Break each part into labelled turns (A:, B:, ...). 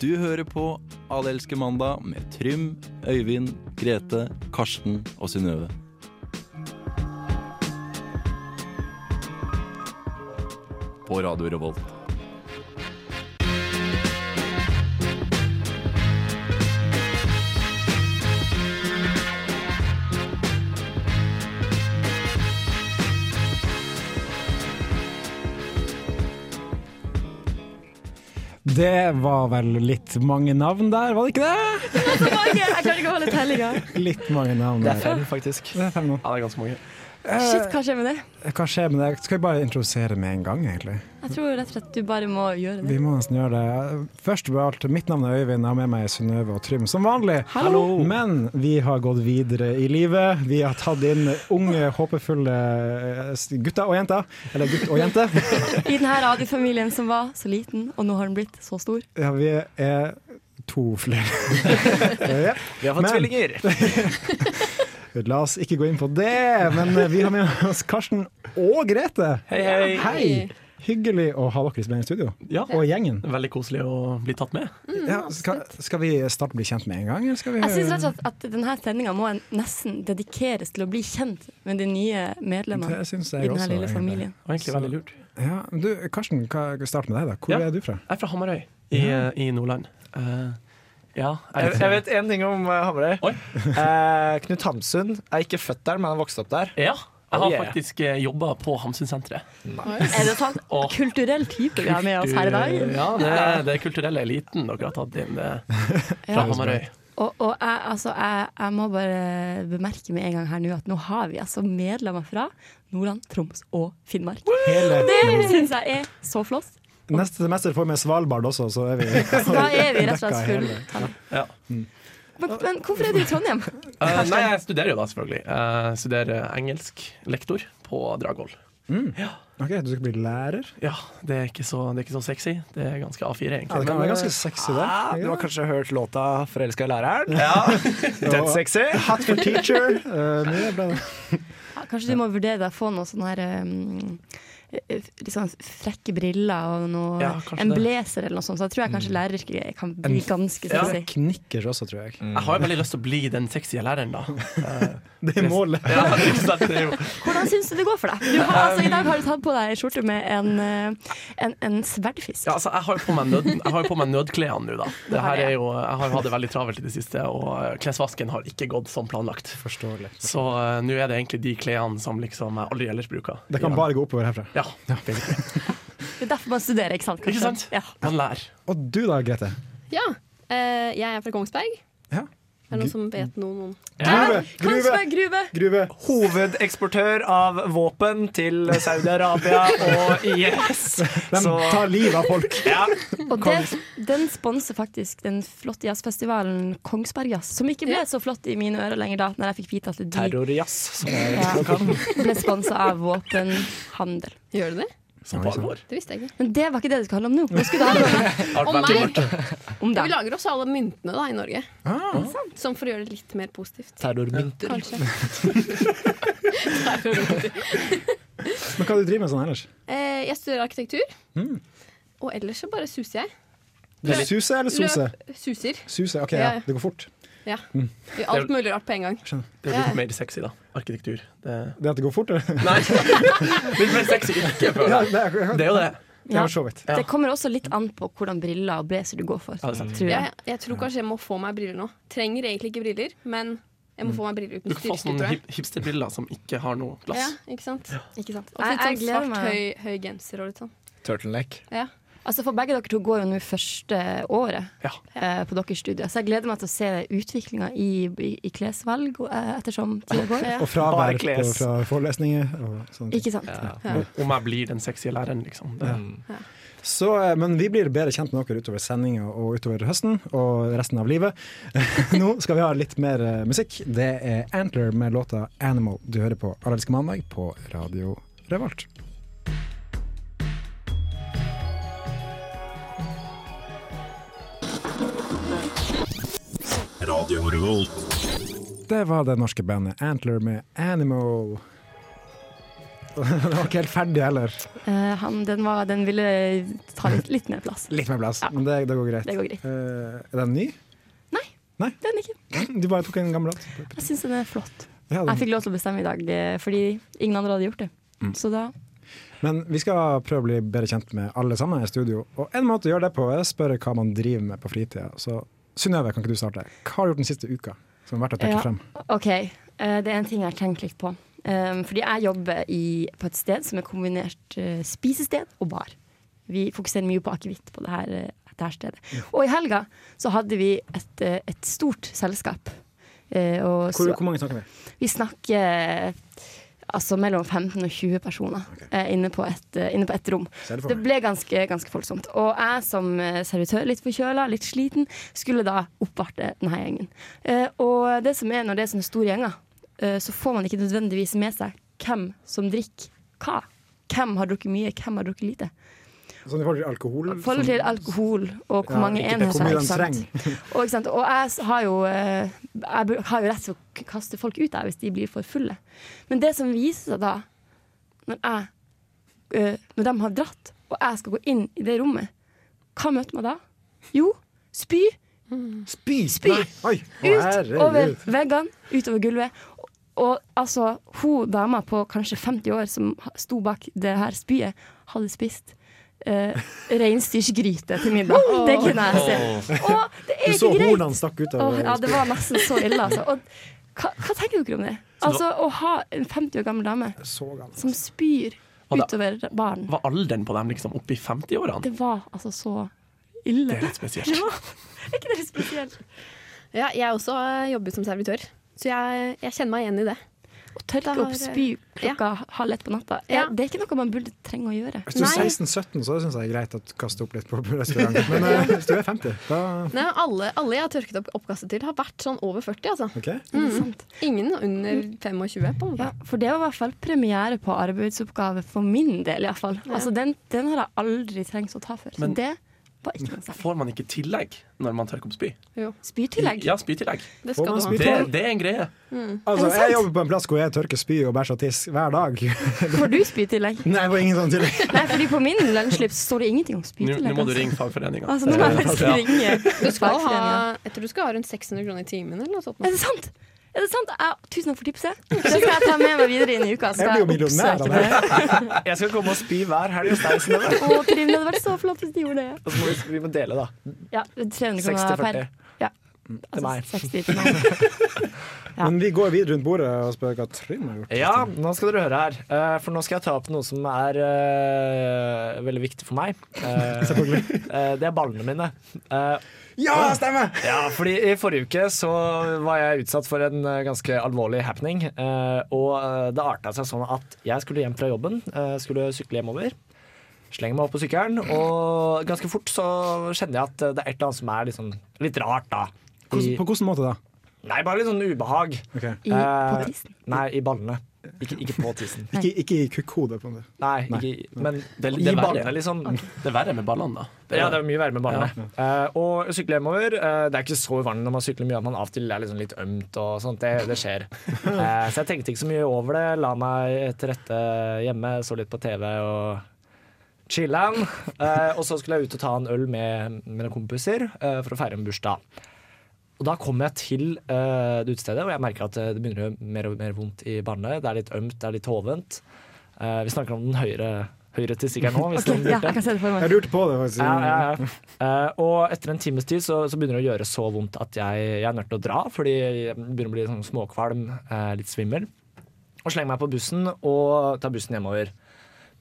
A: Du hører på Allelske mandag med Trym, Øyvind, Grete, Karsten og Synnøve. På Radio Revolt.
B: Det var vel litt mange navn der, var det ikke det?
C: Mange! Jeg klarer ikke å holde tellinga.
B: Litt mange navn
D: Det er
B: der.
D: fem, faktisk.
B: Det
D: Ja,
B: er fem nå.
D: det er ganske mange.
C: Shit, hva skjer med det?
B: Hva skjer med det? Skal vi bare introdusere med en gang, egentlig?
C: Jeg tror rett og slett du bare må gjøre det.
B: Vi må nesten gjøre det. Først og alt, mitt navn er Øyvind, jeg har med meg Synnøve og Trym som vanlig.
C: Hallo.
B: Men vi har gått videre i livet. Vi har tatt inn unge, håpefulle eh, gutter og jenter. Eller gutt og jente.
C: I denne radiofamilien som var så liten, og nå har den blitt så stor.
B: Ja, vi er to flere. ja.
D: Vi har fått
B: Men-
D: tvillinger.
B: La oss ikke gå inn på det, men eh, vi har med oss Karsten og Grete.
D: Hei, hei.
B: Hei! Hyggelig å ha dere med i studio.
D: Ja,
B: Og gjengen.
D: veldig koselig å bli tatt med.
B: Ja, skal, skal vi starte å bli kjent med en gang? Eller skal vi
C: Mm, Jeg syns rett og slett at denne sendinga må nesten dedikeres til å bli kjent med de nye medlemmene
B: Det syns
C: i
B: jeg
C: denne
B: også.
C: lille familien.
D: Det var egentlig
B: Så-
D: veldig lurt.
B: egentlig. Ja, men du, Karsten, hva- start med deg. da. Hvor
D: Ja.
B: er du fra?
D: Jeg er fra Hamarøy i, i Nordland. Eh, ja,
E: Jeg,
D: er- sånn?
E: jeg vet én ting om eh, Hamarøy.
D: Oi.
E: Eh, Knut Hamsun er ikke født der, men han vokste opp der.
D: ja. Jeg har
E: Oh, yeah.
D: faktisk eh, jobba på Hamsunsenteret.
C: Er det sant?
D: Og-
C: Kulturell type vi har med oss her i dag.
D: Ja, det, det er kulturelle eliten dere har tatt inn eh, fra
C: Ja.
D: Hamarøy.
C: Og, og jeg, altså, jeg, jeg må bare bemerke med en gang her nå at nå har vi altså medlemmer fra Nordland, Troms og Finnmark.
B: Hele
C: Det syns jeg er så flott.
B: Neste semester får vi Svalbard også, så er vi
C: Så da er vi rett og slett
B: Dekka
C: full.
B: hele. Mm.
D: Ja.
C: Men, men hvorfor er du i Trondheim?
D: Eh, nei, jeg studerer jo da, selvfølgelig. Jeg studerer eh, engelsk lektor på Dragvoll.
B: Ok, Du skal bli lærer?
D: Ja, det er, ikke så, det er ikke så sexy. Det er ganske A4, egentlig.
B: Ja, det kan
D: Men,
B: være ganske sexy, det.
E: Ah, du har kanskje hørt låta 'Forelska i læreren'?
B: Og
E: Den sexy.
B: Hat for teacher. eh, mye bra.
C: Ja, kanskje du må vurdere deg å få noen sånne her um, Litt sånn frekke briller og noe,
D: Ja, kanskje
C: en
D: det.
C: blazer eller noe sånt. Så jeg tror jeg
B: Mm.
C: kanskje læreryrket kan bli ganske
D: Ja.
C: sexy.
B: Knickers også, tror jeg.
D: Jeg har jo veldig lyst til å bli den sexy læreren, da. Eh,
B: Det er målet.
D: ja, det er sant, det er jo.
C: Hvordan syns du det går for deg? Du har, altså, I dag har du tatt på deg ei skjorte med en, eh, en, en sverdfisk.
D: ja, altså, jeg har jo på meg, nød, jeg har jo på meg nødklærne nå, da. Det her er jo, jeg har hatt det veldig travelt i det siste, og eh, klesvasken har ikke gått som planlagt.
B: Forståelig.
D: Så eh, nå er det egentlig de klærne som liksom jeg aldri ellers bruker.
B: Det kan bare gå oppover herfra.
D: Ja,
C: Det er derfor man studerer, ikke sant?
D: ikke sant?
C: Ja.
D: Man lærer.
B: Og du da, Grete?
F: Ja. eh, jeg er fra Kongsberg.
B: Ja.
F: Er det noen som vet noen om
B: Gruve! Gruve!
C: Kongsberg Gruve!
B: Gruve.
E: Hovedeksportør av våpen til Saudi-Arabia og IS.
B: De
E: Så
B: tar livet av folk.
E: ja,
C: Og det, den sponser faktisk den flotte jazzfestivalen Kongsbergjazz, som ikke ble så flott i mine ører lenger da Når jeg fikk vite at de
E: terrorjazz, som jeg
C: Ja.
E: også kan.
C: ble sponsa av våpenhandel.
F: Gjør det det?
D: Så på alvor.
F: Det visste jeg ikke.
C: Men det var ikke det det skulle handle om nå. Nå skulle det handle
D: Alt
F: Å,
D: veldig
F: nei.
D: mørkt.
C: om
F: Vi
C: deg.
F: lager også alle myntene da, i Norge.
B: Ah.
F: Som for å gjøre det litt mer positivt,
E: Terrormynter.
F: kanskje.
B: Men hva du driver med sånn ellers?
F: Eh, jeg studerer arkitektur. Og ellers så bare suser jeg.
B: Suse eller sose?
F: Løp, suser.
B: Suse, ok, ja.
F: Ja, ja.
B: Det går fort.
F: Ja. Gjør Alt mulig rart på en gang.
D: Det er jo litt mer sexy, da. Arkitektur. Det...
B: Det at det går fort, eller?
D: Nei, litt mer sexy yrke, føler
B: Ja,
D: jeg.
B: det er ja,
D: Det er jo det.
B: det er for så vidt.
D: Ja.
C: Det kommer også litt an på hvordan briller og blazer du går for.
D: Ja, det er sant.
C: Tror jeg.
F: Jeg, jeg tror kanskje jeg må få meg briller nå. Trenger egentlig ikke briller, men jeg må få meg briller
D: Du
F: uten
D: kan få sånn
F: styrke,
D: sånne
F: tror jeg.
D: hip hipsterbriller som ikke har noe
F: Ja,
D: glass.
F: ikke sant?
C: Ikke sant?
F: Og så litt
C: Jeg, jeg
F: sånn
C: gleder
F: svart,
C: meg.
F: høy, høy genser og litt sånn.
E: Turtleneck.
F: Ja.
C: Altså For begge dere to går jo nå første året
D: Ja.
C: eh, på deres studie, så jeg gleder meg til å se utviklinga i, i, i klesvalg eh, ettersom tida går.
B: Og fravær
E: Bare
B: på-
E: kles.
B: fra forelesninger og sånne ting.
C: Ikke sant?
F: Ja.
D: Om jeg blir den sexy læreren, liksom. Det.
B: Så, eh, men vi blir bedre kjent med dere utover sendinga og utover høsten og resten av livet. Nå skal vi ha litt mer eh, musikk. Det er Antler med låta 'Animal'. Du hører på Arelske mandag på Radio Revolt.
G: Radio Revolt.
B: Det var det norske bandet Antler med 'Animal'. Den var ikke helt ferdig heller.
C: Eh, han, den, var, den ville ta litt, litt mer plass.
B: Litt mer plass,
C: Ja.
B: men det, det går greit.
C: Det går greit.
B: Eh, er den ny?
C: Den ikke.
B: Du bare tok en gammel låt?
C: Jeg syns den er flott.
B: Ja, den-
C: Jeg fikk lov til å bestemme i dag eh, fordi ingen andre hadde gjort det. Så da
B: Men vi skal prøve å bli bedre kjent med alle sammen i studio. Og en måte å gjøre det på er å spørre hva man driver med på fritida. Så Synnøve, kan ikke du starte? Hva har du gjort den siste uka som er verdt å trekke
C: Ja.
B: frem?
C: OK, eh, det er en ting jeg har tenkt litt på. Um, fordi jeg jobber i, på et sted som er kombinert eh, spisested og bar. Vi fokuserer mye på akevitt på det her, eh, det her stedet. Og i helga så hadde vi et, eh, et stort selskap. Eh, og
B: Hvor,
C: så-
B: hvor mange snakker vi?
C: Vi snakker eh, altså mellom 15 og 20 personer eh, inne, på et, eh, inne på et rom.
B: Ser det for
C: Det
B: meg.
C: ble ganske, ganske folksomt. Og jeg som eh, servitør, litt forkjøla, litt sliten, skulle da oppvarte denne gjengen. Eh, og det som er når det er sånne store gjenger, eh, så får man ikke nødvendigvis med seg hvem som drikker hva. Hvem har drukket mye, hvem har drukket lite.
B: Sånn i forhold til alkohol? sånn-
C: Forhold til alkohol og hvor
B: Ja,
C: mange
B: ikke-
C: enheter.
B: hvor mye
C: ikke
B: de
C: sant? Og, ikke sant? og jeg s- har jo, eh, jeg bur- har jo rett til å k- kaste folk ut der hvis de blir for fulle. Men det som viser seg da, når, jeg, eh, når de har dratt, og jeg skal gå inn i det rommet, hva møter meg da? Jo, spy
B: Spy!
C: Spy!
B: Nei. Oi, å,
C: ut
B: herregud.
C: over veggene, utover gulvet. Og, og altså, hun dama på kanskje 50 år som ha- sto bak det her spyet, hadde spist eh, reinsdyrsgryte til middag. Det kunne jeg se. Og det
B: Du
C: er
B: så
C: ikke greit.
B: hornene stakk ut av
C: Åh, ja, det var nesten så ille, altså. Og hva, hva tenker dere om det? Altså, å ha en 50 år gammel dame
B: Så gammelt.
C: som spyr
D: Og da-
C: utover baren,
D: Var alderen på dem liksom oppi 50-årene?
C: det var altså så ille.
D: Det er litt
C: Det
D: spesielt.
C: var, er ikke det litt spesielt?
F: Ja, jeg også eh, jobber som servitør, så jeg, jeg kjenner meg igjen i det.
C: Å tørke
F: Da har-
C: opp spy klokka halv ett på natta, er,
F: Ja.
C: det er ikke noe man burde trenge å gjøre.
B: Hvis du er 16-17,
F: Nei.
B: så syns jeg det er greit at du kaster opp litt på restaurant. Men eh, hvis du er 50, da
F: Nei, alle, alle jeg har tørket opp oppkastet til, har vært sånn over 40, altså.
B: OK.
C: Er det sant?
F: Ingen under 25, på en måte.
C: Ja, for det var i hvert fall premiere på arbeidsoppgave for min del, iallfall. fall Altså, den, den har jeg aldri trengt å ta før. Så
D: Men-
C: det var ikke noe særlig.
D: Får man ikke tillegg når man tørker opp spy?
F: Jo,
C: Spytillegg.
D: Ja, spytillegg.
F: det
B: Får
F: skal
B: man
F: du ha.
B: spytte?
D: Det, det er en greie.
B: Altså,
C: Er det sant?
B: jeg jobber på en plass hvor jeg tørker spy og bæsj og tiss hver dag.
C: Får du spytillegg?
B: Nei, det var ingen sånn tillegg.
C: Nei, fordi på min lønnsslips står det ingenting om
D: Nå nå
C: spytillegg.
D: må du
C: altså.
D: ringe fagforeninga.
C: Altså, nå må jeg faktisk ringe
F: Du skal ha,
C: fagforeningen.
F: jeg tror du skal ha rundt 600 kroner i timen eller noe sånt.
C: Er
F: nå.
C: det sant? Er det sant? Ja, tusen takk for tipset. Det skal jeg ta med meg videre inn i uka. Skal
B: Jeg blir jo
C: jeg
B: millionær av
C: oppsøke det.
E: Jeg skal komme og spy hver helg hos deg, Synnøve.
C: Å, Trine, det hadde vært så flott hvis du gjorde det.
E: Og så må vi, vi må dele, da.
C: Ja, 300 kroner per.
E: 60-40.
C: Ja.
E: Til meg.
C: Altså, 60 til meg. Ja.
B: Men vi går videre rundt bordet og spør hva Trym har gjort.
E: Ja, nå skal dere høre her. Eh, for nå skal jeg ta opp noe som er eh, veldig viktig for meg. Eh, eh, det er ballene mine. Eh,
B: Ja, stemmer!
E: Ja, fordi i forrige uke så var jeg utsatt for en eh, ganske alvorlig happening. eh, Og eh, det arta seg sånn at jeg skulle hjem fra jobben, eh, skulle sykle hjemover. Slenger meg opp på sykkelen, og ganske fort så kjenner jeg at eh, det er et eller annet som er liksom litt rart, da. I,
B: Hvordan- På hvilken måte da?
E: nei, bare litt sånn ubehag.
B: Ok.
C: I, på
E: Eh,
C: tissen.
E: Nei, i ballene. Ikke, ikke på tissen.
B: Ikke, ikke i kukkhodet. på en måte.
E: Nei, ikke, i- men
D: Det er litt- det
E: i
D: er verre.
E: ballene, liksom.
D: Det er verre med ballene, da. Det er-
E: Ja, det er mye verre med ballene. Eh, og sykle hjemover. eh, det er ikke så uvanlig når man sykler mye at man av og til er liksom litt ømt og sånt. Det, det skjer. Eh, så jeg tenkte ikke så mye over det. La meg til rette hjemme, så litt på TV og chiller'n. Eh, og så skulle jeg ut og ta en øl med mine kompiser eh, for å feire en bursdag. Og da kom jeg til eh, det utestedet, og jeg merker at eh, det begynner å gjøre mer og mer vondt i ballene. Det er litt ømt, det er litt hovent. Eh, vi snakker om den høyre, høyre testikkelen nå. Hvis
C: Ok,
E: noen
C: ja,
E: lurte.
C: jeg kan se det for meg.
B: Jeg lurte på det, faktisk.
E: Ja, ja, ja.
B: Mm.
E: Eh, og etter en times tid så, så begynner det å gjøre så vondt at jeg, jeg er nødt til å dra, fordi jeg begynner å bli sånn småkvalm, eh, litt svimmel. Og slenger meg på bussen og tar bussen hjemover.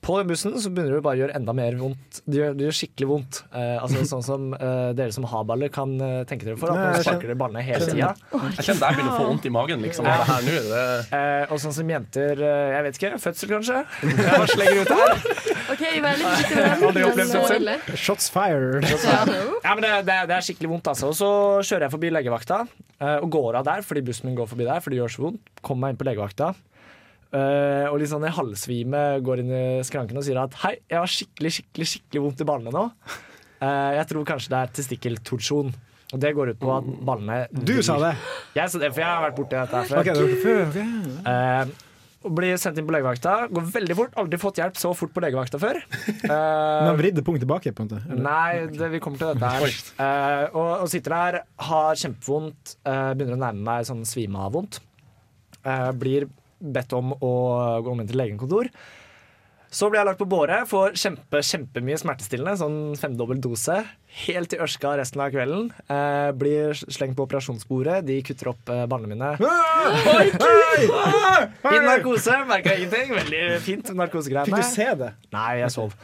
E: På den bussen så begynner det bare å gjøre enda mer vondt. Det gjør, det gjør skikkelig vondt. Eh, altså Sånn som eh, dere som har baller, kan eh, tenke dere for. At
B: Nei,
E: man
B: jeg
E: sparker dere i ballene hele
B: skjønner.
E: tida.
D: Jeg kjenner jeg begynner å få vondt i magen liksom, av det her nå. Det-
E: Eh, og sånn som jenter eh, Jeg vet ikke. Fødsel, kanskje? Jeg bare slenger ut her.
C: Ok, vær litt forsiktig med den.
E: Aldri opplevd
C: men, eh,
F: Så
E: fødsel.
F: ille.
B: Shots fired.
E: Ja, men det, det, det er skikkelig vondt, altså. Og så kjører jeg forbi legevakta eh, og går av der fordi bussen min går forbi der, for det gjør så vondt. Kommer meg inn på legevakta. eh, og litt sånn i halvsvime går inn i skranken og sier at hei, jeg har skikkelig skikkelig, skikkelig vondt i ballene nå. Eh, jeg tror kanskje det er testikkeltorsjon. Og det går ut på at ballene
B: Du sa det!
E: Jeg sa det, for jeg har vært borti dette her
B: Ok,
E: før.
B: det var- ok.
E: Eh, blir sendt inn på legevakta. Går veldig fort. Aldri fått hjelp så fort på legevakta før. Eh,
B: Men han vridde punkt tilbake, på en måte. eller?
E: Nei, det, vi kommer til dette her. Eh, og, og sitter der, har kjempevondt, eh, begynner å nærme meg sånn svime av vondt. Eh, blir bedt om å gå om inn til legekontor. Så blir jeg lagt på båre, får kjempe, kjempemye smertestillende, sånn femdobbel dose. Helt i ørska resten av kvelden. Eh, blir slengt på operasjonsbordet, de kutter opp eh, barna mine.
B: Ah!
E: I narkose, merka ingenting. Veldig fint, narkosegreiene.
B: Fikk du se det?
E: Nei, jeg sov.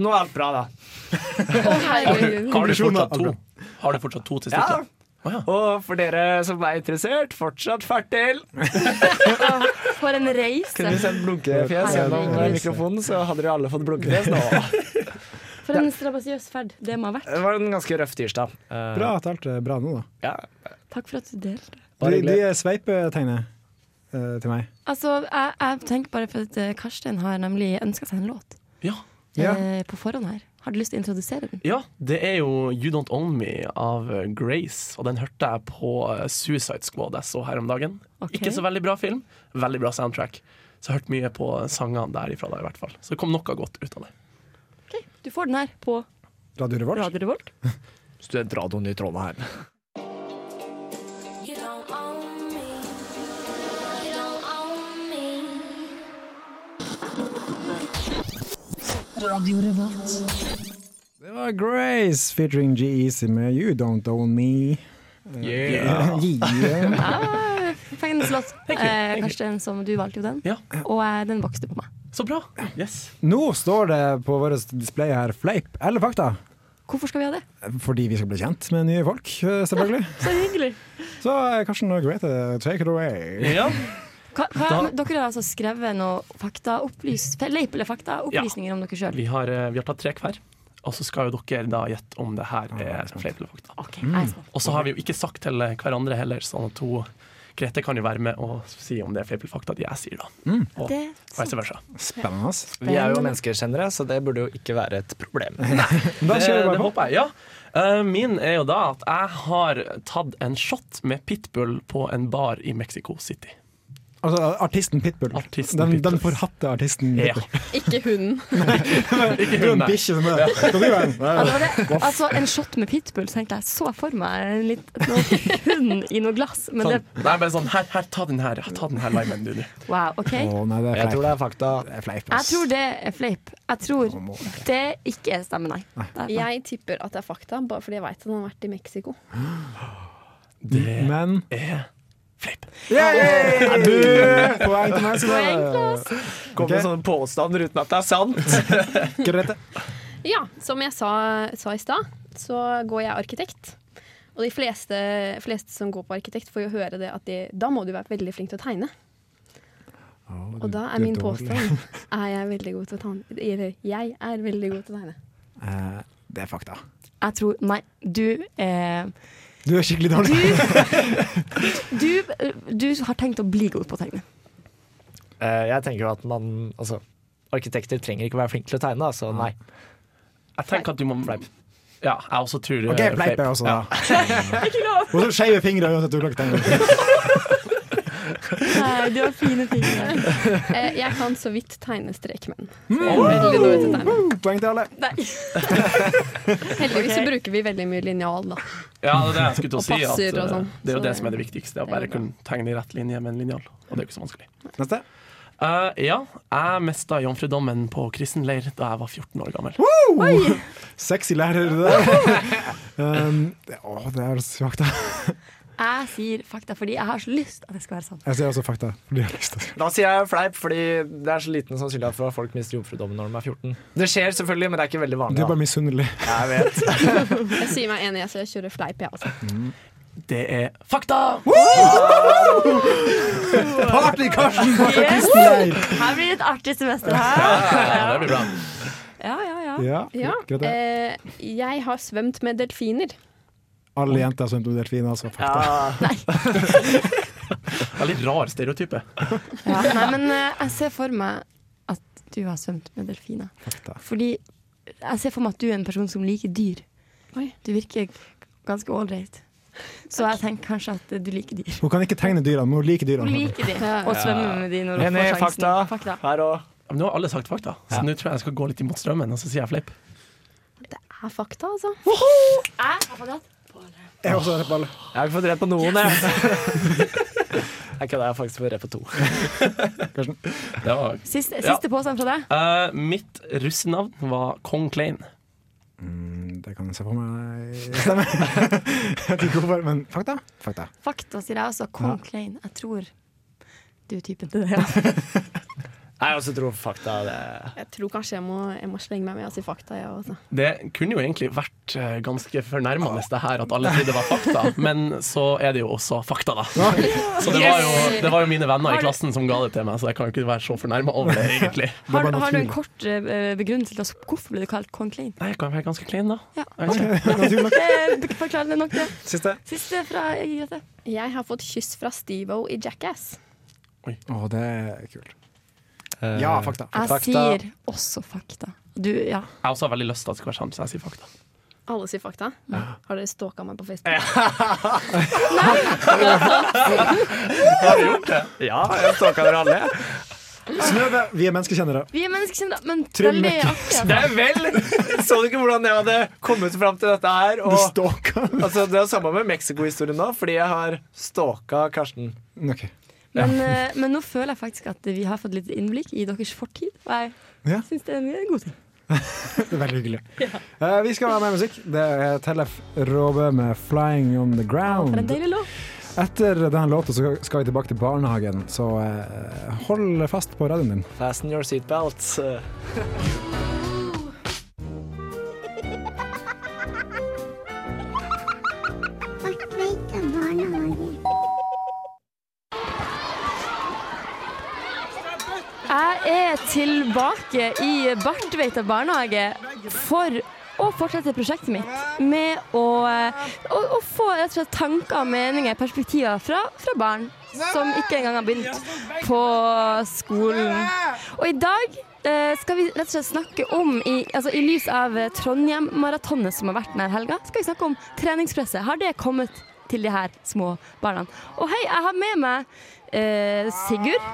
E: Nå er alt bra, da.
F: Å, herregud.
D: Har du fortsatt
B: Konklusjonen
D: to? Har du fortsatt to testikler? Å ja.
E: Og for dere som er interessert, fortsatt fertil.
C: For en reise.
E: Kunne vi sendt blunkefjes gjennom eh, mikrofonen, så hadde dere alle fått blunkefjes nå.
C: For en strabasiøs ferd det må ha vært.
E: Det var en ganske røff tirsdag. Eh,
B: Bra at alt er bra nå, da.
E: Ja.
C: Takk for at du delte.
E: Bare
B: De,
E: hyggelig.
B: de sveipetegner eh, til meg.
C: Altså, jeg, jeg tenker bare for at eh, Karstein har nemlig ønska seg en låt
D: ja.
B: Ja.
C: eh, på forhånd her. Har du lyst til å introdusere den?
D: Ja, det er jo You Don't Own Me av eh, Grace, og den hørte jeg på eh, Suicide Squad jeg så her om dagen.
C: Ok.
D: Ikke så veldig bra film, veldig bra soundtrack. Så jeg hørte mye på sangene derifra da, i hvert fall. Så det kom noe godt ut av det.
C: Ok, Du får den her på
B: Radio Revolt.
C: Radio Revolt.
E: Studentradioen i Trondheim.
G: You don't own me. You don't own me.
B: Det var Grace featuring G-Easy med You Don't Own Me.
D: Yeah.
B: Yeah.
C: Ja, Fengende slått.
D: Thank you, thank
C: Eh,
D: you.
C: Karsten, som du valgte jo den.
D: Ja.
C: Og eh, den vokste på meg.
D: Så bra! Yes.
B: Nå står det på vårt display her fleip eller fakta.
C: Hvorfor skal vi ha det?
B: Fordi vi skal bli kjent med nye folk, eh, selvfølgelig.
C: Så hyggelig.
B: Så eh, Karsten og Grete, take it away.
D: Ja.
C: Hva, hva,
D: Da-
C: dere har altså skrevet noe fakta, opplys, leip eller fakta, opplysninger om dere sjøl.
D: Vi har, eh, vi har tatt tre hver, og så skal jo dere da gjette om det her er fleip eller fakta.
C: Ok, jeg er spent.
D: Og så har vi jo ikke sagt til hverandre heller, sånn at hun Grete kan jo være med og si om det er fleip eller fakta at jeg sier, da. Og
C: Det,
D: vice versa.
B: Spennende. ass.
E: Vi er jo menneskeskjennere, så det burde jo ikke være et problem.
B: Da
D: Det,
B: kjører vi
D: Eh, det
B: bare på.
D: håper jeg. Ja. Eh, min er jo da at jeg har tatt en shot med pitbull på en bar i Mexico City.
B: Altså, artisten Pitbull.
D: Artisten
B: den,
D: Pitbull.
B: den forhatte artisten
D: Ja.
B: Pitbull.
F: Ikke hunden.
D: Ikke
B: Du er
D: hun,
B: en
D: nei.
B: bikkje som er Skal du være en?
C: altså, det, altså en shot med pitbull, så tenkte jeg så for meg en litt noe hund i noe glass. Men
D: Sånn,
C: det
D: nei, bare sånn her, her, ta den her. Ta den her limen, du, du.
C: Wow, OK.
B: Å, nei, det
E: Jeg
B: er
E: tror
B: fleip.
E: det er fakta.
B: Det er fleip.
C: Jeg
B: ass.
C: tror det er fleip. Jeg tror det ikke er stemmen, nei. Det er-
F: Jeg tipper at det er fakta, bare fordi jeg veit at han har vært i Mexico.
D: Det
B: Men
D: er fleip.
B: Er du Eh, Poeng til meg,
C: Poeng til oss.
E: Kommer
B: Ok.
D: sånn
E: med sånne påstander uten at det er sant.
B: Grete.
F: Ja, som jeg sa, sa i stad, så går jeg arkitekt. Og de fleste, fleste som går på arkitekt, får jo høre det at de, da må du være veldig flink til å tegne. Og da er min påstand er jeg veldig god til å tegne. Eller, Jeg er veldig god til å tegne.
B: Eh, Det er fakta.
C: Jeg tror Nei, du eh,
B: Du er skikkelig dårlig.
C: du, du har tenkt å bli god på å tegne.
E: Eh, Jeg tenker jo at man Altså, arkitekter trenger ikke være flinke til å tegne, da, så nei.
D: Jeg tenker at du må Fleip. Ja, jeg også tror det
B: OK,
D: er
B: fleip er også da.
D: Ja.
B: Og så skeive fingre uansett du klokket en gang.
C: Nei, du har fine fingre.
F: Eh, Jeg kan så vidt tegne strekmenn.
B: Mm.
F: Så jeg er veldig dårlig til å tegne.
B: Poeng til alle.
F: Heldigvis så bruker vi veldig mye linjal, da.
D: Ja, det er det jeg skulle til å
F: Og
D: si. At,
F: passer og
D: eh,
F: sånn.
D: det er
F: Så
D: jo det
F: det-
D: som er det viktigste. Å
F: det er
D: bare
F: bra.
D: kunne tegne i rett linje med en linjal. Og det er jo ikke så vanskelig.
B: Neste.
D: Eh, ja, jeg mista jomfrudommen på kristen leir da jeg var 14 år gammel.
B: Sexy lærer. det der. Um, det- Å, det er også fakta.
C: Jeg sier fakta fordi jeg har så lyst at det skal være sant.
B: Jeg sier også fakta. Fordi jeg har lyst til det.
E: Da sier jeg fleip, fordi det er så liten sannsynlighet for at folk mister jomfrudommen når de er 14. Det skjer selvfølgelig, men det er ikke veldig
B: Du er
E: vanlig.
B: bare
E: da.
B: misunnelig.
E: Jeg vet.
F: Jeg sier meg enig, så jeg kjører fleip, jeg, altså.
D: Det er fakta!
B: Party, Karsten! Party,
C: Yes.
B: Kristen Leir.
C: Her blir det et artig semester her.
D: Ja, det blir bra.
C: Ja, ja, ja.
B: Ja,
F: Ja,
B: Grete.
F: eh, jeg har svømt med delfiner.
B: Alle jenter har svømt med delfiner, altså. Fakta.
E: Ja.
D: Veldig rar stereotype.
C: Ja, nei, men eh, jeg ser for meg at du har svømt med delfiner.
B: Fakta.
C: Fordi jeg ser for meg at du er en person som liker dyr.
F: Oi.
C: Du virker ganske ålreit. Så jeg tenker kanskje at eh, du liker dyr.
B: Hun kan ikke tegne dyrene, men hun liker
C: Hun
B: dyrene.
C: liker de, og svømmer med de når hun
E: Enig,
C: får sjansen.
E: fakta.
C: fakta.
E: Her òg.
D: Men nå har alle sagt fakta, så nå tror jeg jeg skal gå litt imot strømmen, og så sier jeg fleip.
F: Det er fakta, altså.
C: Jeg har fått rett.
B: Jeg er også rett på alle.
E: Jeg har ikke fått rett på noen, jeg. Jeg kødder, jeg har faktisk fått rett på to.
D: Det var
C: Siste, siste påstand fra deg.
D: Eh, mitt russenavn var Kong Klein.
B: Mm, Det kan jeg se på meg stemmer. Jeg vet ikke hvorfor, men fakta? Fakta.
C: Fakta sier jeg også. Kong Klein. Jeg tror du er typen til det. Ja.
E: Jeg også tror fakta det
F: Jeg tror kanskje jeg må, jeg må slenge meg med og si fakta, jeg også. altså.
D: Det kunne jo egentlig vært eh, ganske fornærmende det her at alle trodde det var fakta, men så er det jo også fakta, da. Så det var jo, det var jo mine venner i klassen som ga det til meg, så jeg kan jo ikke være så fornærma over det, egentlig.
C: Har, har du en kort eh, begrunnelse til oss? hvorfor ble du kalt kong Klein?
D: Nei, jeg kan være ganske clean, da.
C: Ja.
D: Jeg vet ikke.
B: Naturlig nok.
C: Det forklarer det nok, det.
B: Siste.
C: Siste fra Grete.
F: Jeg har fått kyss fra Steve-O i Jackass.
B: Å, det er kult. Ja, fakta.
C: Jeg
E: Fakta.
C: sier også fakta. Du, ja.
D: Jeg har også veldig lyst til at det skal være sant, så jeg sier fakta.
F: Alle sier fakta. Har dere stalka meg på Facebook?
E: Ja, jeg stalka dere alle.
B: Snøve, vi er menneskekjennere.
C: Vi er menneskekjennere, men
B: Trym
C: veldig altså.
B: Møkke.
E: Det
C: artige.
E: er vel! Så du ikke hvordan jeg hadde kommet fram til dette her?
B: Du
E: Og,
B: stalker.
E: altså, det er samme med Mexico-historien nå, fordi jeg har stalka Karsten.
B: Ok.
C: Men, eh, men nå føler jeg faktisk at vi har fått litt innblikk i deres fortid. Og jeg
B: Ja.
C: synes syns det er en god ting.
B: Det er Veldig hyggelig. Eh, vi skal ha mer musikk. Det er Tellef Råbø med 'Flying On The
C: For en
B: Ground'.
C: deilig låt.
B: Etter denne låta så skal vi tilbake til barnehagen, så eh, hold fast på radioen din.
E: Fasten your seatbelt.
C: Jeg er tilbake i Bartveita barnehage for å fortsette prosjektet mitt med å, eh, å, å få rett og slett tanker, meninger, perspektiver fra, fra barn som ikke engang har begynt på skolen. Og i dag eh, skal vi rett og slett snakke om, i, altså, i lys av eh, Trondheim-maratonet som har vært denne helga, skal vi snakke om treningspresset. Har det kommet til de her små barna? Og hei, jeg har med meg eh, Sigurd.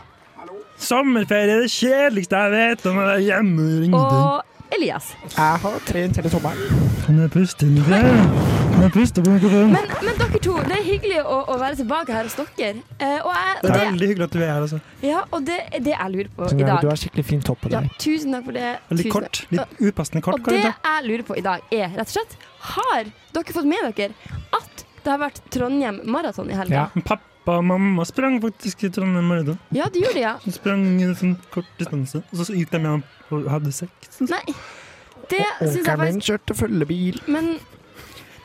H: Sommerferie er det kjedeligste jeg vet om å være hjemme og ringe
C: og Elias.
B: Jeg har trent hele sommeren.
H: Kan jeg puste inn i det? Kan jeg puste på mikrofonen?
C: Men, men dere to, det er hyggelig å, å være tilbake her hos dere. Eh, og jeg, og
H: Det er
C: det,
H: veldig hyggelig at du er her. altså.
C: ja, og det er det jeg lurer på i dag.
E: har skikkelig fin topp på
C: Ja, tusen takk for det.
H: Veldig
C: Tusen
H: kort.
C: takk.
H: Litt upassende kort.
C: Og det
H: kanskje.
C: jeg lurer på i dag, er rett og slett Har dere fått med dere at det har vært Trondheim maraton i helga?
H: Men Pappa og mamma sprang faktisk i Trondheim Marathon.
C: Ja. du gjorde det, ja.
H: De sprang i en sånn kort distanse, og så gikk de hjem og hadde sex.
C: Nei, det syns jeg faktisk
E: kjørte følgebil.
C: Men,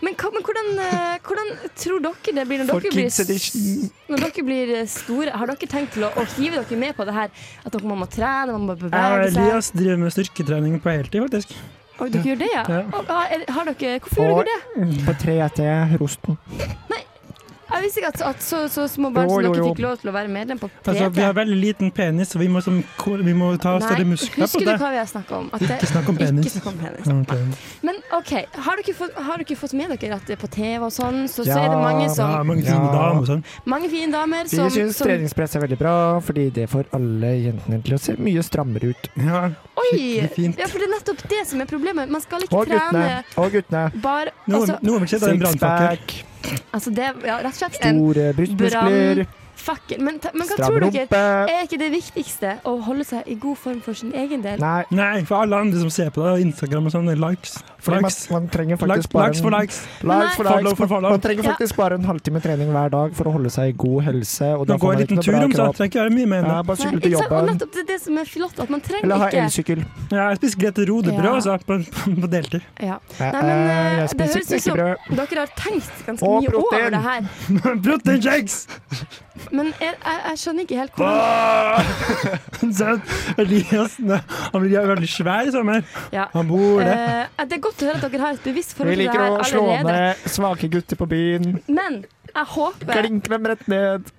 C: men, hva- men hvordan, eh, hvordan tror dere det blir når
E: For
C: dere blir,
E: kids edition.
C: s- når dere blir eh, store? Har dere tenkt til å, å hive dere med på det her? At dere må trene, man må
H: Jeg og
C: bevege seg?
H: Elias driver med styrketrening på heltid, faktisk.
C: Oi, dere gjør det, ja?
H: Ja.
C: Og, har, er- har dere, hvorfor gjør dere det?
E: På 3ET Rosten.
C: Jeg visste ikke at, at så, så små barn som
E: Jo, jo,
C: dere
E: jo.
C: fikk lov til å være medlem på
H: Altså, vi
C: 3T.
H: har veldig liten penis, så vi må, som, vi må ta større
C: Nei,
H: muskler på
C: husker du
H: det.
C: hva vi har snakka om? At det,
H: Ikke snakk om penis.
C: Ikke snakk om penis.
H: Ok.
C: Men OK, har dere, fått, har dere fått med dere at det er på TV og sånn, så, så
E: Ja,
C: er det mange
H: Ja,
C: som
H: mange fine
E: Ja.
H: damer og sånn.
C: Mange fine damer som, som
E: treningspress er veldig bra, fordi det får alle jentene til å se mye strammere ut.
H: Ja,
C: Oi!
H: skikkelig fint.
C: Ja, for det er nettopp det som er problemet. Man skal ikke trene
E: Og guttene.
C: bare
H: Nå,
C: altså,
H: nå har vi ikke sett en brannfakkel.
C: altså det ja, Rett og slett en
E: eh,
C: brannfakkel. Men, ta- men hva tror dere? Er ikke det viktigste å holde seg i god form for sin egen del?
E: Nei,
H: Nei, for alle andre som ser på det, og Instagram og sånn, det er likes. Likes.
E: trenger
H: Likes, likes for likes.
C: Likes for
H: likes. Follow for follow. Man
E: trenger
C: Ja.
E: bare en halvtime trening hver dag for å holde seg i god helse. Og
H: Nå går jeg en liten tur om, så jeg trenger ikke være mye med henne.
E: bare
C: Nei, ikke sant? Og nettopp det er det som er flott, at man trenger ikke
E: elsykkel.
H: Ja, jeg spiser Grete Rodebrød,
C: Ja.
H: altså, på, på, på deltid.
C: ja. Nei, men eh, det høres ut som dere har tenkt ganske
E: Og
C: mye
E: protein.
C: over det her.
H: Protein shakes!
C: Men jeg, jeg, jeg skjønner ikke helt hvordan
H: Så Elias, nei, han blir veldig svær i sommer.
C: ja.
H: Han bor det.
C: Eh, det er godt å høre at dere har et bevisst
E: Vi
C: forhold til det
E: liker å
C: her
E: slå
C: allerede.
E: ned svake gutter på byen.
C: Men jeg håper
E: Klinke dem rett ned.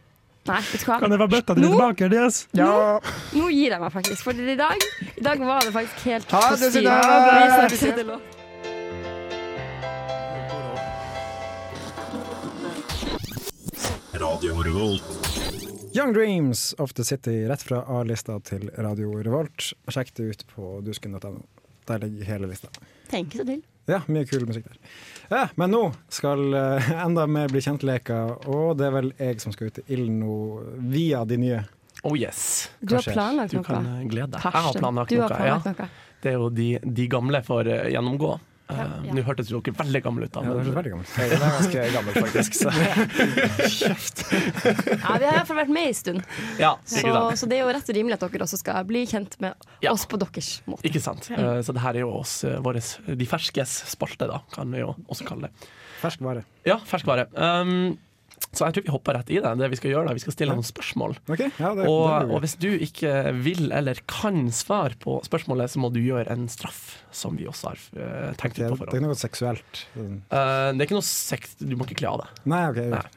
C: Nei, vet du hva.
H: Kan jeg få bøtta di
C: Nå-
H: tilbake, Elias?
E: Ja,
C: Nå gir jeg meg faktisk, for i dag, i dag var det faktisk helt
E: Ha
C: på
E: det,
C: styr.
E: Sunniva!
C: Vi snakkes etterpå.
I: Radio Revolt.
B: Young Dreams of the City, rett fra A-lista til Radio Revolt. Sjekk det ut på dusken.no. Der ligger hele lista.
C: Tenk så til.
B: Ja, mye kul musikk der. Ja, men nå skal eh, enda mer bli kjent-leka, og det er vel jeg som skal ut i ilden nå, via de nye.
D: Oh yes.
C: Du har
B: Kanskje.
C: planlagt
D: Du
C: noe.
D: kan eh, glede deg. Jeg har
C: Karsten,
D: planlagt
C: du har
D: noe. Ja,
C: planlagt noe.
D: det er jo de, de gamle får eh, gjennomgå. Eh,
C: Ja, ja.
D: Nå hørtes jo dere veldig gamle ut, da.
B: Ja, det er
D: Men
B: veldig gammelt.
E: Den er ganske gammel, faktisk. Så.
C: Ja, vi har i hvert fall vært med en stund,
D: ja,
C: så,
D: ikke sant.
C: så det er jo rett og rimelig at dere også skal bli kjent med
D: Ja.
C: oss på deres måte.
D: Ikke sant. Eh, Så det her er jo oss, eh, våres, de ferskes spalte, da, kan vi jo også kalle det.
B: Fersk vare.
D: Ja, ferskvare. Um, så jeg tror vi hopper rett i det. Det Vi skal gjøre da, vi skal stille noen spørsmål.
B: Ok, ja, det, det
D: Og, og
B: blir gøy.
D: hvis du ikke vil eller kan svare på spørsmålet, så må du gjøre en straff, som vi også har eh, tenkt
B: Det er,
D: ut på
B: det er
D: forhånd.
B: noe seksuelt. Sånn.
D: Eh, det er ikke noe sex, du må ikke kle av deg.
B: Nei, OK.
D: Nei.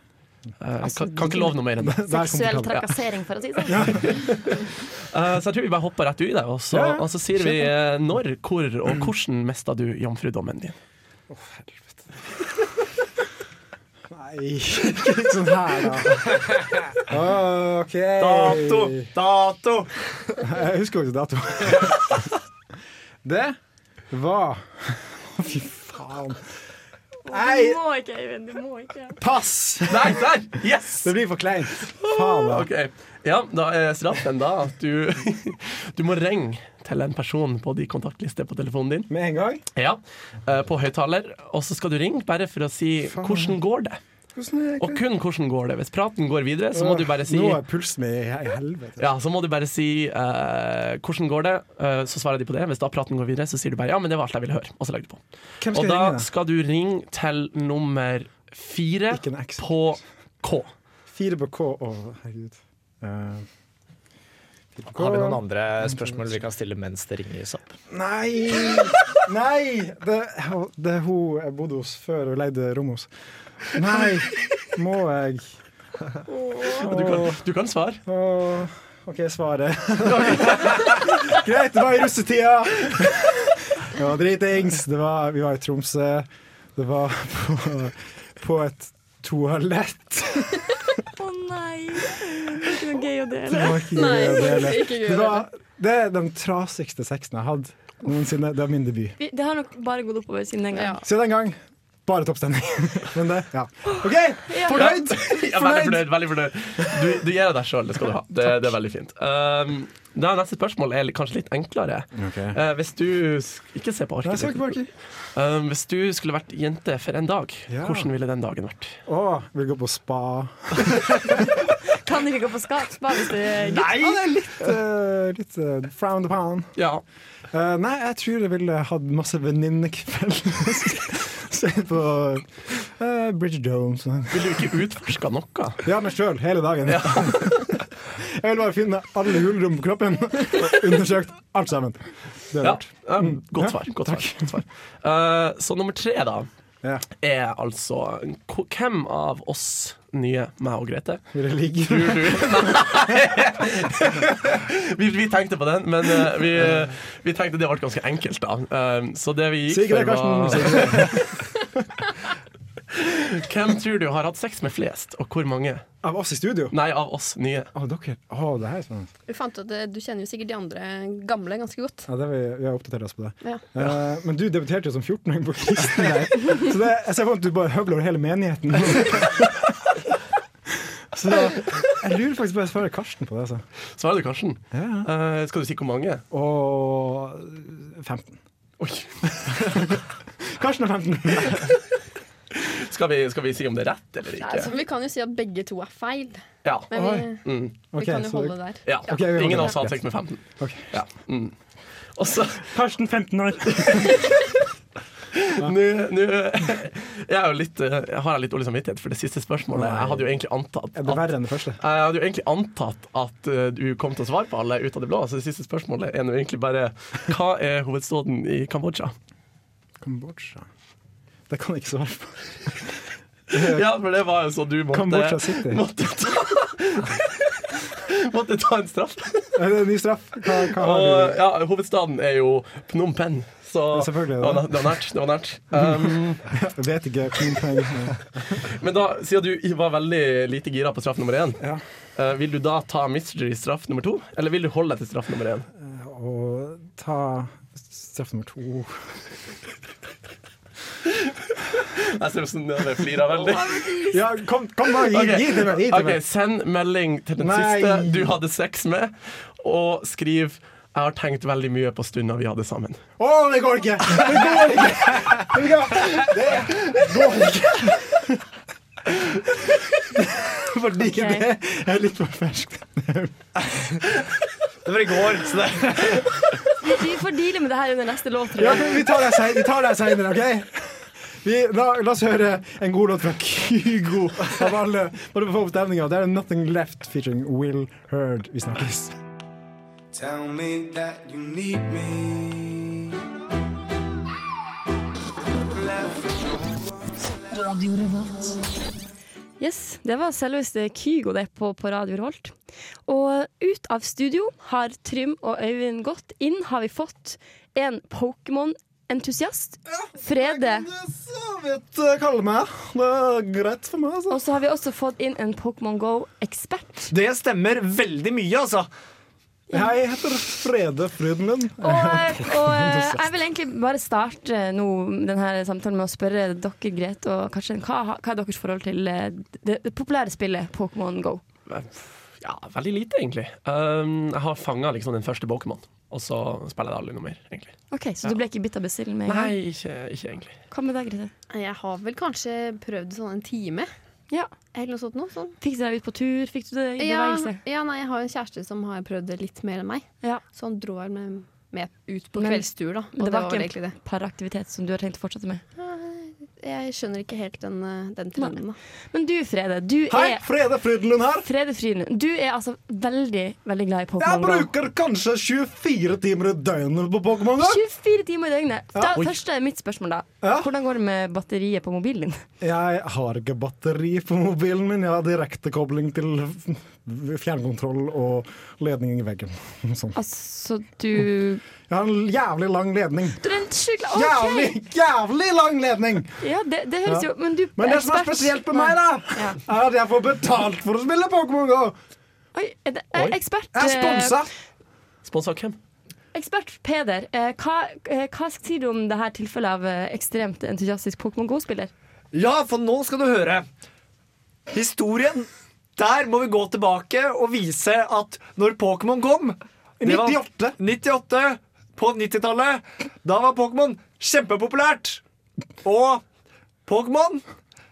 D: Eh,
C: Altså,
D: kan, kan ikke love noe mer enn det.
B: Det er
C: Seksuell
B: komfortabelt.
C: trakassering, for å si det sånn.
D: Eh, så jeg tror vi bare hopper rett ut i det, og så,
B: Ja, ja.
D: og så sier vi eh, når, hvor og hvordan mista du jomfrudommen din.
B: Nei, ikke litt sånn her, da. OK.
D: Dato!
B: Jeg husker jo ikke dato. Det var Å, Fy faen. Nei,
C: må ikke, Eivind. Du må ikke.
B: pass!
D: Nei, der! Yes!
B: Det blir for kleint. Faen, da.
D: Ok, ja, da er straffen da at du, du må ringe til en person på de kontaktliste på telefonen din.
B: Med en gang.
D: Ja, eh, på høyttaler. Og så skal du ringe bare for å si 'hvordan går det?'
B: Hvordan er
D: Og kun 'hvordan går det?' Hvis praten går videre, så må du bare si
B: Nå er pulsen min i i helvete.
D: ja, så må du bare si eh, 'hvordan går det?', Eh, så svarer de på det. Hvis da praten går videre, så sier du bare 'ja, men det var alt jeg ville høre', og så legger du på.
B: Hvem skal
D: Og
B: jeg
D: da
B: ringe, da?
D: skal du ringe til nummer fire
B: Ikke en X.
D: på K.
B: Fire på K. Å, herregud. Eh, fire på K.
E: Har vi noen andre spørsmål vi kan stille mens det ringes opp?
B: Nei! Nei! Det, det er hun jeg bodde hos før og leide rom hos. Nei, må jeg
D: Du kan, du kan svare.
B: Åh, OK, svaret. Greit, det var i russetida! Det var dritings. Det var, vi var i Tromsø. Det var på, på et toalett.
C: Å nei! Det er ikke noe gøy å
B: Det
C: dele.
B: var ikke
F: Nei,
B: gøy å dele.
F: ikke gøy å
B: Det, var, det er den trasigste sexen jeg har hatt noensinne. Det var min debut.
C: Vi- Det har nok bare gått oppover siden den
F: Ja.
C: gang.
B: Siden den gang bare toppstemning. Men det, ja. OK, fornøyd?
D: Ja, veldig fornøyd. veldig fornøyd Du, du gir av deg sjøl, det skal du ha. Det, det er veldig fint. Um, da, neste spørsmål er litt- kanskje litt enklere. Eh, hvis du s- Ikke se på
B: Nei, jeg så ikke
D: arket.
B: på arket.
D: Um, hvis du skulle vært jente for en dag,
B: Ja.
D: hvordan ville den dagen vært?
B: Å, vil gå på spa.
C: Kan ikke gå på skap, bare hvis det er gutt.
B: Ja, det er litt, eh, litt eh, frowned upon.
D: Ja.
B: Eh, nei, jeg tror jeg ville hatt masse venninnekvelder. Se på eh, Bridget Jones.
D: Ville du ikke utforska noe?
B: Ja, meg sjøl hele dagen. jeg vil bare finne alle hulrom på kroppen og undersøkt alt sammen. Det er
D: Ja.
B: rart. Mm.
D: Um,
B: Ja,
D: godt svar. Godt svar. Godt svar. Eh, så nummer tre, da,
B: Ja.
D: er altså ko- Hvem av oss nye, meg og Grete,
B: Vil jeg ligge
D: Tror du Nei. vi, vi tenkte på den, men eh, vi, vi tenkte det ble ganske enkelt, da. Um, så det vi gikk
B: Sigrid
D: for, var
B: Karsten.
D: Hvem tror du har hatt sex med flest, og hvor mange?
B: Av oss i studio?
D: Nei, av oss nye.
B: Å, dere. Å, det her er spennende.
F: Du fant ut at du kjenner jo sikkert de andre gamle ganske godt.
B: Ja, det vi, vi har oppdatert oss på det.
F: Ja.
B: Eh, men du debuterte jo som 14-åring på kristen der. Så det, jeg ser for meg at du bare høvler over hele menigheten. Så jeg lurer faktisk på jeg svarer Karsten på det. Altså.
D: Svarer du Karsten?
B: Ja.
D: Eh, skal du si hvor mange?
B: Og 15.
D: Oi.
B: Karsten er 15.
D: Skal, vi, skal vi si om det er rett eller
F: Altså,
D: ikke?
F: vi kan jo si at begge to er feil,
D: Ja.
F: men vi,
B: Oi.
D: Mm.
F: vi
B: Ok,
F: kan jo
B: så
F: holde der.
D: ja.
B: Ok, vi holder
D: Ingen
B: det.
D: av oss har hatt sex med 15.
B: Ok.
D: Ja. Mm. Og så
H: Karsten 15 år.
D: Nå nå- jeg er jo litt, eh, har jeg litt dårlig samvittighet for det siste spørsmålet. Jeg hadde jo egentlig antatt
B: Er det
D: at
B: verre enn det første?
D: Jeg hadde jo egentlig antatt at eh, du kom til å svare på alle ut av det blå, så det siste spørsmålet er nå egentlig bare Hva er hovedstaden i Kambodsja?
B: Kambodsja. Det kan jeg ikke svare på.
D: Ja, for det var jo så du måtte
B: Kambodsja City.
D: Måtte ta, måtte ta en straff.
B: Er Eh, det en ny straff? Hva, hva har
D: Og
B: du?
D: ja, hovedstaden er jo Phnom Penh. Så
B: Ja, selvfølgelig,
D: det var,
B: da.
D: næ- det var nært. Det var nært. Um,
B: Jeg vet ikke. Pling, pling.
D: men da, siden du var veldig lite gira på straff nummer én,
B: Ja.
D: eh, vil du da ta mystery straff nummer to? Eller vil du holde deg til straff nummer én?
B: Og ta straff nummer to.
D: Jeg ser ut som dere flirer veldig.
B: Ja, kom, kom da, gi,
D: Ok.
B: gi det meg! Gi det
D: Ok,
B: meg.
D: Send melding til den
B: Nei.
D: siste du hadde sex med, og skriv 'Jeg har tenkt veldig mye på stunda vi hadde sammen'.
B: Å, det går ikke! Det går ikke! Det går- Det går ikke! Fordi
C: Ok.
B: det er litt for ferskt.
E: Det var i går, så det
C: Vi, vi får deale med det her under neste låt, tror
B: Ja,
C: jeg.
B: men vi tar det sen- vi tar det senere, OK? Vi, la, la oss høre en god låt fra Kygo. Av alle, bare for å få opp stemninga. Det er Nothing Left featuring Will Heard. Vi snakkes.
I: Tell me that you need me.
C: Yes, Det var selveste Kygo det på, på Radio Revolt. Og ut av studio har Trym og Øyvind gått. Inn har vi fått en Pokémon-entusiast. Frede.
B: Kall meg. Det er greit for meg, altså.
C: Og så har vi også fått inn en Pokémon GO-ekspert.
E: Det stemmer veldig mye, altså.
B: Jeg heter Frede Fryden min.
C: Og, og eh, jeg vil egentlig bare starte nå denne samtalen med å spørre dere, Grete og Karsten, hva, ha- hva er deres forhold til eh, det, det populære spillet Pokémon GO?
D: Ja, veldig lite, egentlig. Um, jeg har fanga liksom den første Pokémon, og så spiller jeg det aldri noe mer, egentlig.
C: Ok, Så du ble ikke bitt av bestillen med en gang?
D: Nei, ikke, ikke egentlig.
C: Hva med deg, Grete?
F: Jeg har vel kanskje prøvd sånn en time
C: Ja.
F: eller noe sånt. Noe, sånn.
C: Fikk du deg ut på tur? Fikk du det i
F: Ja,
C: bevegelse?
F: ja, nei, jeg har en kjæreste som har prøvd det litt mer enn meg.
C: Ja.
F: Så han dro vel med, med ut på
C: Men-
F: kveldstur, da.
C: men
F: Og
C: det
F: det
C: var
F: var
C: ikke en-
F: egentlig det.
C: Paraktivitet som du har tenkt å fortsette med.
F: Jeg skjønner ikke helt den, eh, den trenden, da.
C: Men du, Frede, du
B: Hei,
C: er
B: Frede Frydenlund her.
C: Frede Fryden, du er altså veldig, veldig glad i
B: Jeg
C: Pokémon GO.
B: bruker kanskje 24 timer i døgnet på Pokémon. Go.
C: 24 timer i døgnet. Da,
D: Oi.
C: først er mitt spørsmål, da.
B: Ja.
C: Hvordan går det med batteriet på mobilen din?
B: Jeg har ikke batteri på mobilen min. Jeg har direktekobling til f- fjernkontroll og ledning i veggen. Sånn.
C: Altså, du
B: Jeg har en jævlig lang ledning.
C: Du er en skikkelig
B: Jævlig,
C: OK!
B: jævlig lang ledning!
C: Ja, det, det høres
B: Ja.
C: jo Men du
B: Men det som er
C: ekspert-
B: spesielt med meg, da,
C: Ja.
B: er at jeg får betalt for å spille Pokémon GO!
C: Oi, er det, eh, ekspert
B: Jeg er
C: eh,
B: sponsa!
D: Sponsa hvem?
C: Ekspert Peder, eh, hva, eh, hva sier du om det her tilfellet av eh, ekstremt entusiastisk Pokémon GO-spiller?
E: Ja, for nå skal du høre. Historien. Der må vi gå tilbake og vise at når Pokémon kom
B: I
E: det var
B: 98.
E: 98 på 90-tallet. Da var Pokémon kjempepopulært. Og Pokémon,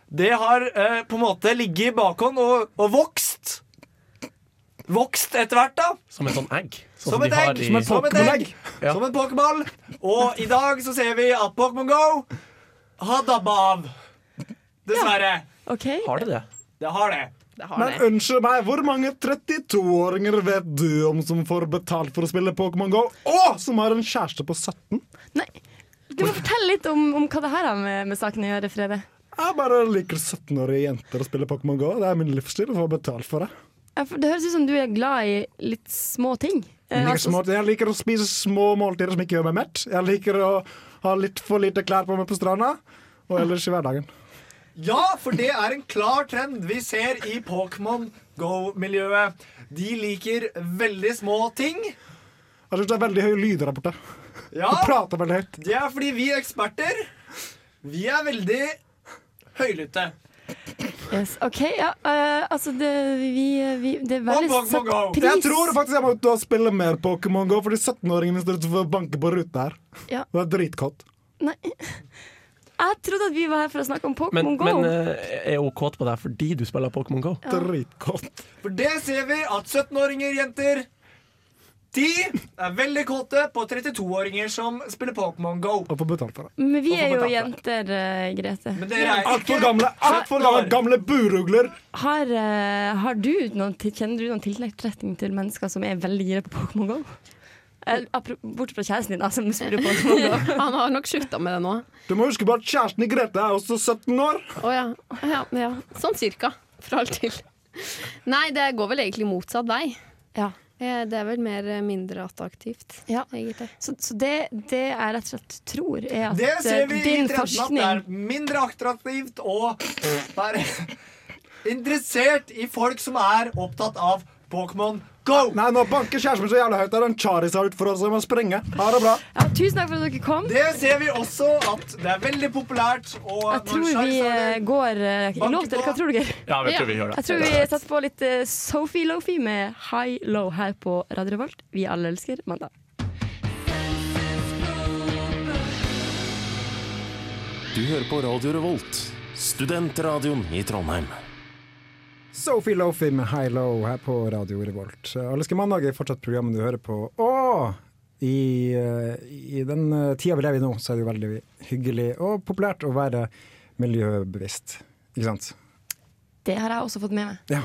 E: det har eh, på en måte ligget i bakhånd og, og vokst. Vokst etter hvert, da.
D: Som et sånn egg? Sånn
E: Som
D: de
E: et
D: har
E: egg!
D: i-
E: Som, et egg!
D: Ja.
E: Som en pokéball. Og i dag så ser vi at Pokémon GO har dabba av. Dessverre.
C: OK?
D: Har de det?
E: Det har det.
F: Det har
B: Men
F: det.
B: unnskyld meg, hvor mange 32-åringer vet du om som får betalt for å spille Pokémon GO, og som har en kjæreste på 17?
C: Nei. Du må fortelle litt om, om hva det her har med, med saken å gjøre, Frede.
B: Jeg bare liker 17-årige jenter å spille Pokémon GO. Det er min livsstil å få betalt for det.
C: Ja, for Det høres ut som du er glad i litt små ting. Eh,
B: Jeg liker,
C: altså-
B: små, jeg liker å spise små måltider som ikke gjør meg mett. Jeg liker å ha litt for lite klær på meg på stranda. Og ellers i hverdagen.
E: Ja, for det er en klar trend vi ser i Pokémon GO-miljøet. De liker veldig små ting.
B: Jeg synes det er veldig høye lyder der borte.
E: Ja,
B: Jeg prater veldig høyt.
E: det er fordi vi eksperter, vi er veldig høylytte.
C: Yes, OK, ja. eh, altså, det, vi, vi Det er
E: Og
C: veldig
E: Pokémon
C: satt
E: Go.
C: pris
B: Jeg tror faktisk jeg må ut og spille mer Pokémon GO, fordi 17-åringene står utenfor og banker på ruta her.
C: Ja.
B: Det er dritkått.
C: Nei. Jeg trodde at vi var her for å snakke om
D: Men,
C: Pokémon Go.
D: men eh, er hun kåt på deg fordi du spiller Pokémon GO?
B: Dritkått.
E: For det ser vi at 17-åringer, jenter, de er veldig kåte på 32-åringer som spiller Pokémon GO.
B: Og får betalt for det.
C: Men vi
E: Hvorfor
C: er jo
E: betalt
C: jenter, eh, Grete.
E: Men dere er
B: Altfor gamle, alt for gamle, gamle burugler!
C: Har, eh, har du noen, til- kjenner du noen tiltrekning til mennesker som er veldig gira på Pokémon GO? Eh, apro- Bortsett fra kjæresten din, da, som spiller Pokémon GO.
F: Han har nok slutta med det nå.
B: Du må huske på at kjæresten i Grete er også 17 år.
F: Å ja. Ja, ja. Sånn cirka. Fra alt til. Nei, det går vel egentlig motsatt vei.
C: Ja.
F: Eh, Det er vel mer eh, mindre attraktivt,
C: Ja.
F: egentlig.
C: Så, så det, det jeg rett og slett tror, er at
J: Det ser
C: eh,
J: vi i
C: din
J: Trøndelag. Det er mindre attraktivt å være interessert i folk som er opptatt av Pokémon Go.
B: Nei, nå banker kjæresten min så jævla høyt. Der er en charizard for oss som må sprenge. Ha det bra.
C: Ja, tusen takk for at dere kom.
J: Det ser vi også at det er veldig populært. Og
C: Jeg tror vi eh, går eh, i lov til Hva tror dere?
D: Ja, vi
F: Ja.
D: tror vi gjør det.
C: Jeg tror vi setter på litt eh, Sophie Lofi med High Low her på Radio Revolt. Vi alle elsker mandag.
K: Du hører på Radio Revolt, studentradioen i Trondheim.
B: Sophie Lofi med High Low her på Radio Revolt. Alle skal mandag er fortsatt programmet du hører på. Og i, eh, i den eh, tida vi lever i nå, så er det jo veldig hyggelig og populært å være miljøbevisst. Ikke sant?
C: Det har jeg også fått med meg.
B: Ja.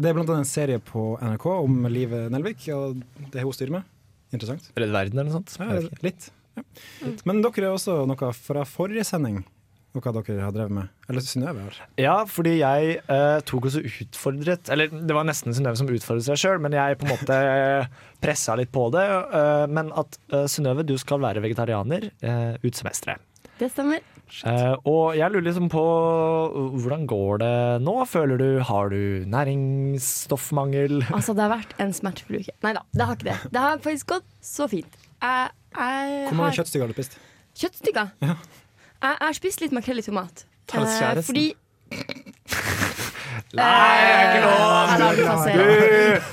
B: Det er blant annet en serie på NRK om Live Nelvik, og det hun styrer med. Interessant.
E: Redd verden eller noe sånt.
B: Ja, litt. Ja. Men dere er også noe fra forrige sending, noe dere har drevet med. Eller Synnøve har.
E: Ja, fordi jeg eh, tok også utfordret Eller det var nesten Synnøve som utfordret seg sjøl, men jeg på en måte pressa litt på det. eh, men at eh, Synnøve, du skal være vegetarianer eh, ut semesteret.
C: Det stemmer.
E: Eh, og jeg lurer liksom på hvordan går det nå? Føler du Har du næringsstoffmangel?
C: Altså, det har vært en smertefull uke. Nei da, det har ikke det. Det har faktisk gått så fint. Jeg, jeg
B: Hvor mange
C: har
B: kjøttstykker har du spist?
C: Kjøttstykker? Jeg, jeg har spist litt makrell i tomat. Eh,
E: Ta oss kjæresten.
C: fordi
E: Nei,
C: Eller, hva sier Eh, jeg?
E: ikke lov!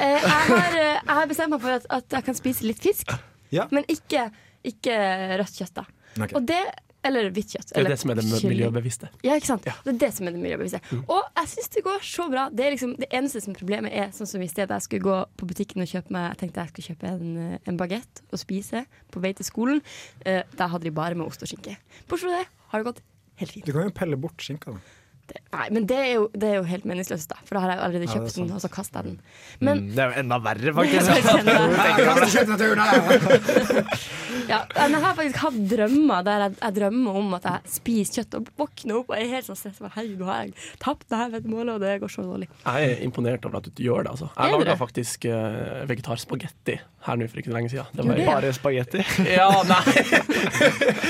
C: Eh, jeg, har, eh, jeg har bestemt meg for at, at jeg kan spise litt fisk,
B: Ja.
C: men ikke, ikke rødt kjøtt. da
B: Ok.
C: Og det, Eller hvitt kjøtt.
D: Det er
C: eller
D: det som er det
C: kylling.
D: miljøbevisste.
C: Ja, ikke sant? Det er det som er det miljøbevisste.
B: Mm.
C: Og jeg syns det går så bra. Det, er liksom, det eneste som er problemet er sånn som i stedet jeg skulle gå på butikken og kjøpe meg Jeg tenkte jeg skulle kjøpe en, eh, en bagett og spise på vei til skolen. Eh, der hadde de bare med ost og skinke. Bortsett fra det har det gått helt fint.
B: Du kan jo pelle bort skinka, da.
C: Det, nei, men det er, jo, det er jo helt meningsløst, da. For da har jeg allerede
B: Ja, det er
C: kjøpt den,
B: sant.
C: og så kasta jeg den. Men
E: Det er jo enda verre,
C: jeg
E: faktisk.
C: skal kjenne det.
B: Nei, Mm.
C: Ja, men jeg har faktisk hatt drømmer der jeg, jeg drømmer om at jeg spiser kjøtt og våkner opp og er helt sånn stressa. bare, Herregud, nå har jeg tapt det her veddemålet, og det går så dårlig.
D: Jeg er imponert over at du gjør det. Altså.
C: Er
D: Jeg
C: du
D: laga
C: det?
D: faktisk uh, vegetarspagetti her nå for ikke så lenge siden. Det
C: Gjorde
D: var,
E: Bare spagetti.
D: ja, nei.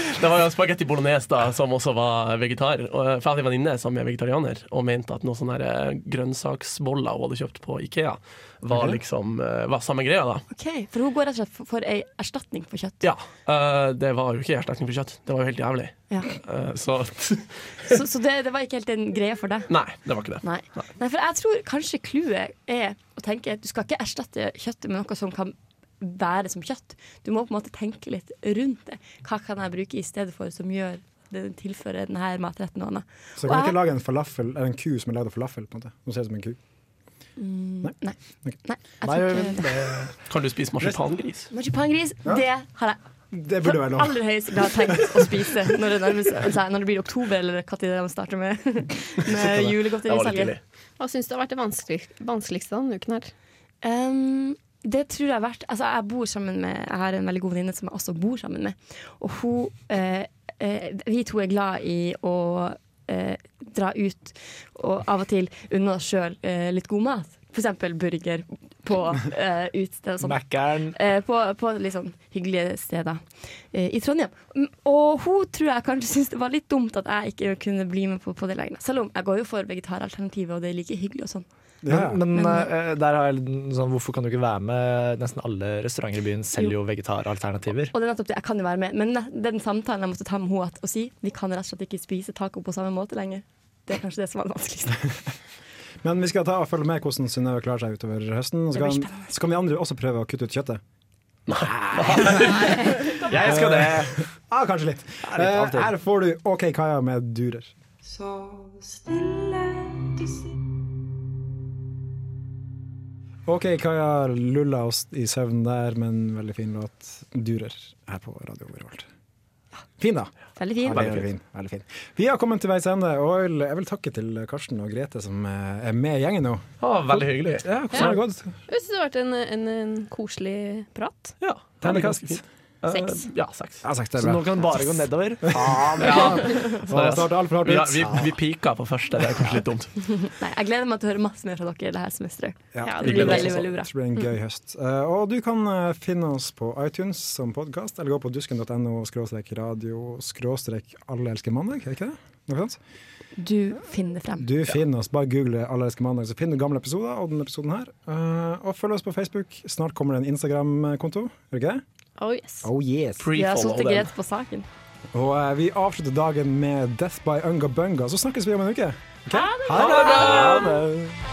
D: det var jo en spagetti bolognese da, som også var vegetar. Og eh, for jeg hadde en venninne som er vegetarianer, og mente at noen sånne her, eh, grønnsaksboller hun hadde kjøpt på Ikea, var
C: Mhm.
D: liksom eh, var samme greia, da.
C: Ok, For hun går rett og slett for, for ei erstatning for kjøtt.
D: Ja, eh, det var jo ikke erstatning for kjøtt. Det var jo helt jævlig.
C: Ja.
D: Eh, så
C: Så, så det, det var ikke helt en greie for deg?
D: nei, det var ikke det.
C: Nei. Nei, for jeg tror kanskje clouet er å tenke at du skal ikke erstatte kjøttet med noe som kan være som kjøtt. Du må på en måte tenke litt rundt det. Hva kan jeg bruke i stedet for som gjør den tilfører denne matretten noe annet?
B: Så kan du ikke lage en falafel, eller en ku som er lagd av falafel, på en måte. Som ser ut som en ku.
C: Nei. Nei, jeg
E: Nei,
C: tror ikke det.
D: Kan du spise marsipangris?
C: Marsipangris, det har jeg
B: Det
C: på
B: burde være lov.
C: aller høyeste grad tenkt å spise når det, nærmer seg, altså, når det blir oktober, eller når de starter med, med
D: Det var litt
C: julegodterisalget.
D: tidlig.
F: Hva syns du har vært det vanskelig, vanskeligste denne uken her?
C: Ehm, det tror jeg har vært Altså, jeg bor sammen med Jeg har en veldig god venninne som jeg også bor sammen med. Og hun eh, eh, Vi to er glad i å eh, dra ut og av og til unne oss sjøl eh, litt god mat. For eksempel burger på eh, utested og sånn.
E: Mækkern.
C: Eh, på, på litt sånn hyggelige steder eh, i Trondheim. Mm, Og hun tror jeg kanskje syntes det var litt dumt at jeg ikke kunne bli med på, på det lenger. Selv om jeg går jo for vegetaralternativet, og det er like hyggelig og sånn.
B: Ja, ja.
E: Men,
C: Men-
E: eh, der har jeg en sånn, hvorfor kan du ikke være med? Nesten alle restauranter i byen selger jo vegetaralternativer.
C: Og det er nettopp det, jeg kan jo være med Men ne- den samtalen jeg måtte ta med henne at- og si Vi kan rett og slett ikke spise taco på samme måte lenger Det er kanskje det som var det vanskeligste
B: Men vi skal ta og følge med hvordan Synnøve klarer seg utover høsten. Og så
C: Det blir
B: kan, så kan vi andre også prøve å kutte ut kjøttet.
E: Jeg skal det!
B: Ja, kanskje litt. Eh,
E: alltid.
B: her får du OK Kaja med Durer. OK Kaja lulla oss i søvn der, men veldig fin låt. Durer her på Radio Overholt. Fin, da.
C: Veldig fin
B: Veldig, veldig, fin. veldig fin. Vi har kommet til veis ende, og jeg vil- jeg vil takke til Karsten og Grete som eh, er med i gjengen nå.
D: Å, veldig hyggelig.
B: Ja, hvordan har det gått?
F: Jeg syns det har vært en, en, en koselig prat.
D: Ja, det er ganske
B: Ternekast.
D: fint.
F: Seks.
D: ja, seks.
B: Ja, seks, det er
E: Så
B: bra.
E: nå kan det bare gå nedover? Faen.
D: Ja.
E: Så det starter alt for hardt
D: vi,
E: ut.
D: vi, vi pika på første, det er kanskje litt dumt.
C: Nei, jeg gleder meg til å høre masse mer fra dere det her semesteret. Ja, det
B: vi
C: blir
B: gleder
C: veldig,
B: oss også.
C: veldig bra.
B: Det blir en gøy høst. Eh, og du kan eh, finne oss på iTunes som podkast, eller gå på dusken.no skråstrek radio skråstrek alle elsker mandag, er det ikke det? Noe sånt?
C: Du finner frem.
B: Du finner oss, bare google Alle elsker mandag, så finner du gamle episoder og denne episoden her. Eh, og følg oss på Facebook. Snart kommer det en Instagram-konto, er det ikke det?
F: Oh yes.
B: Oh yes.
C: Vi har sittet greit på saken.
B: Og eh, vi avslutter dagen med Death by Unga Bunga, så snakkes vi om en uke. Ok? Ha det! Ha det!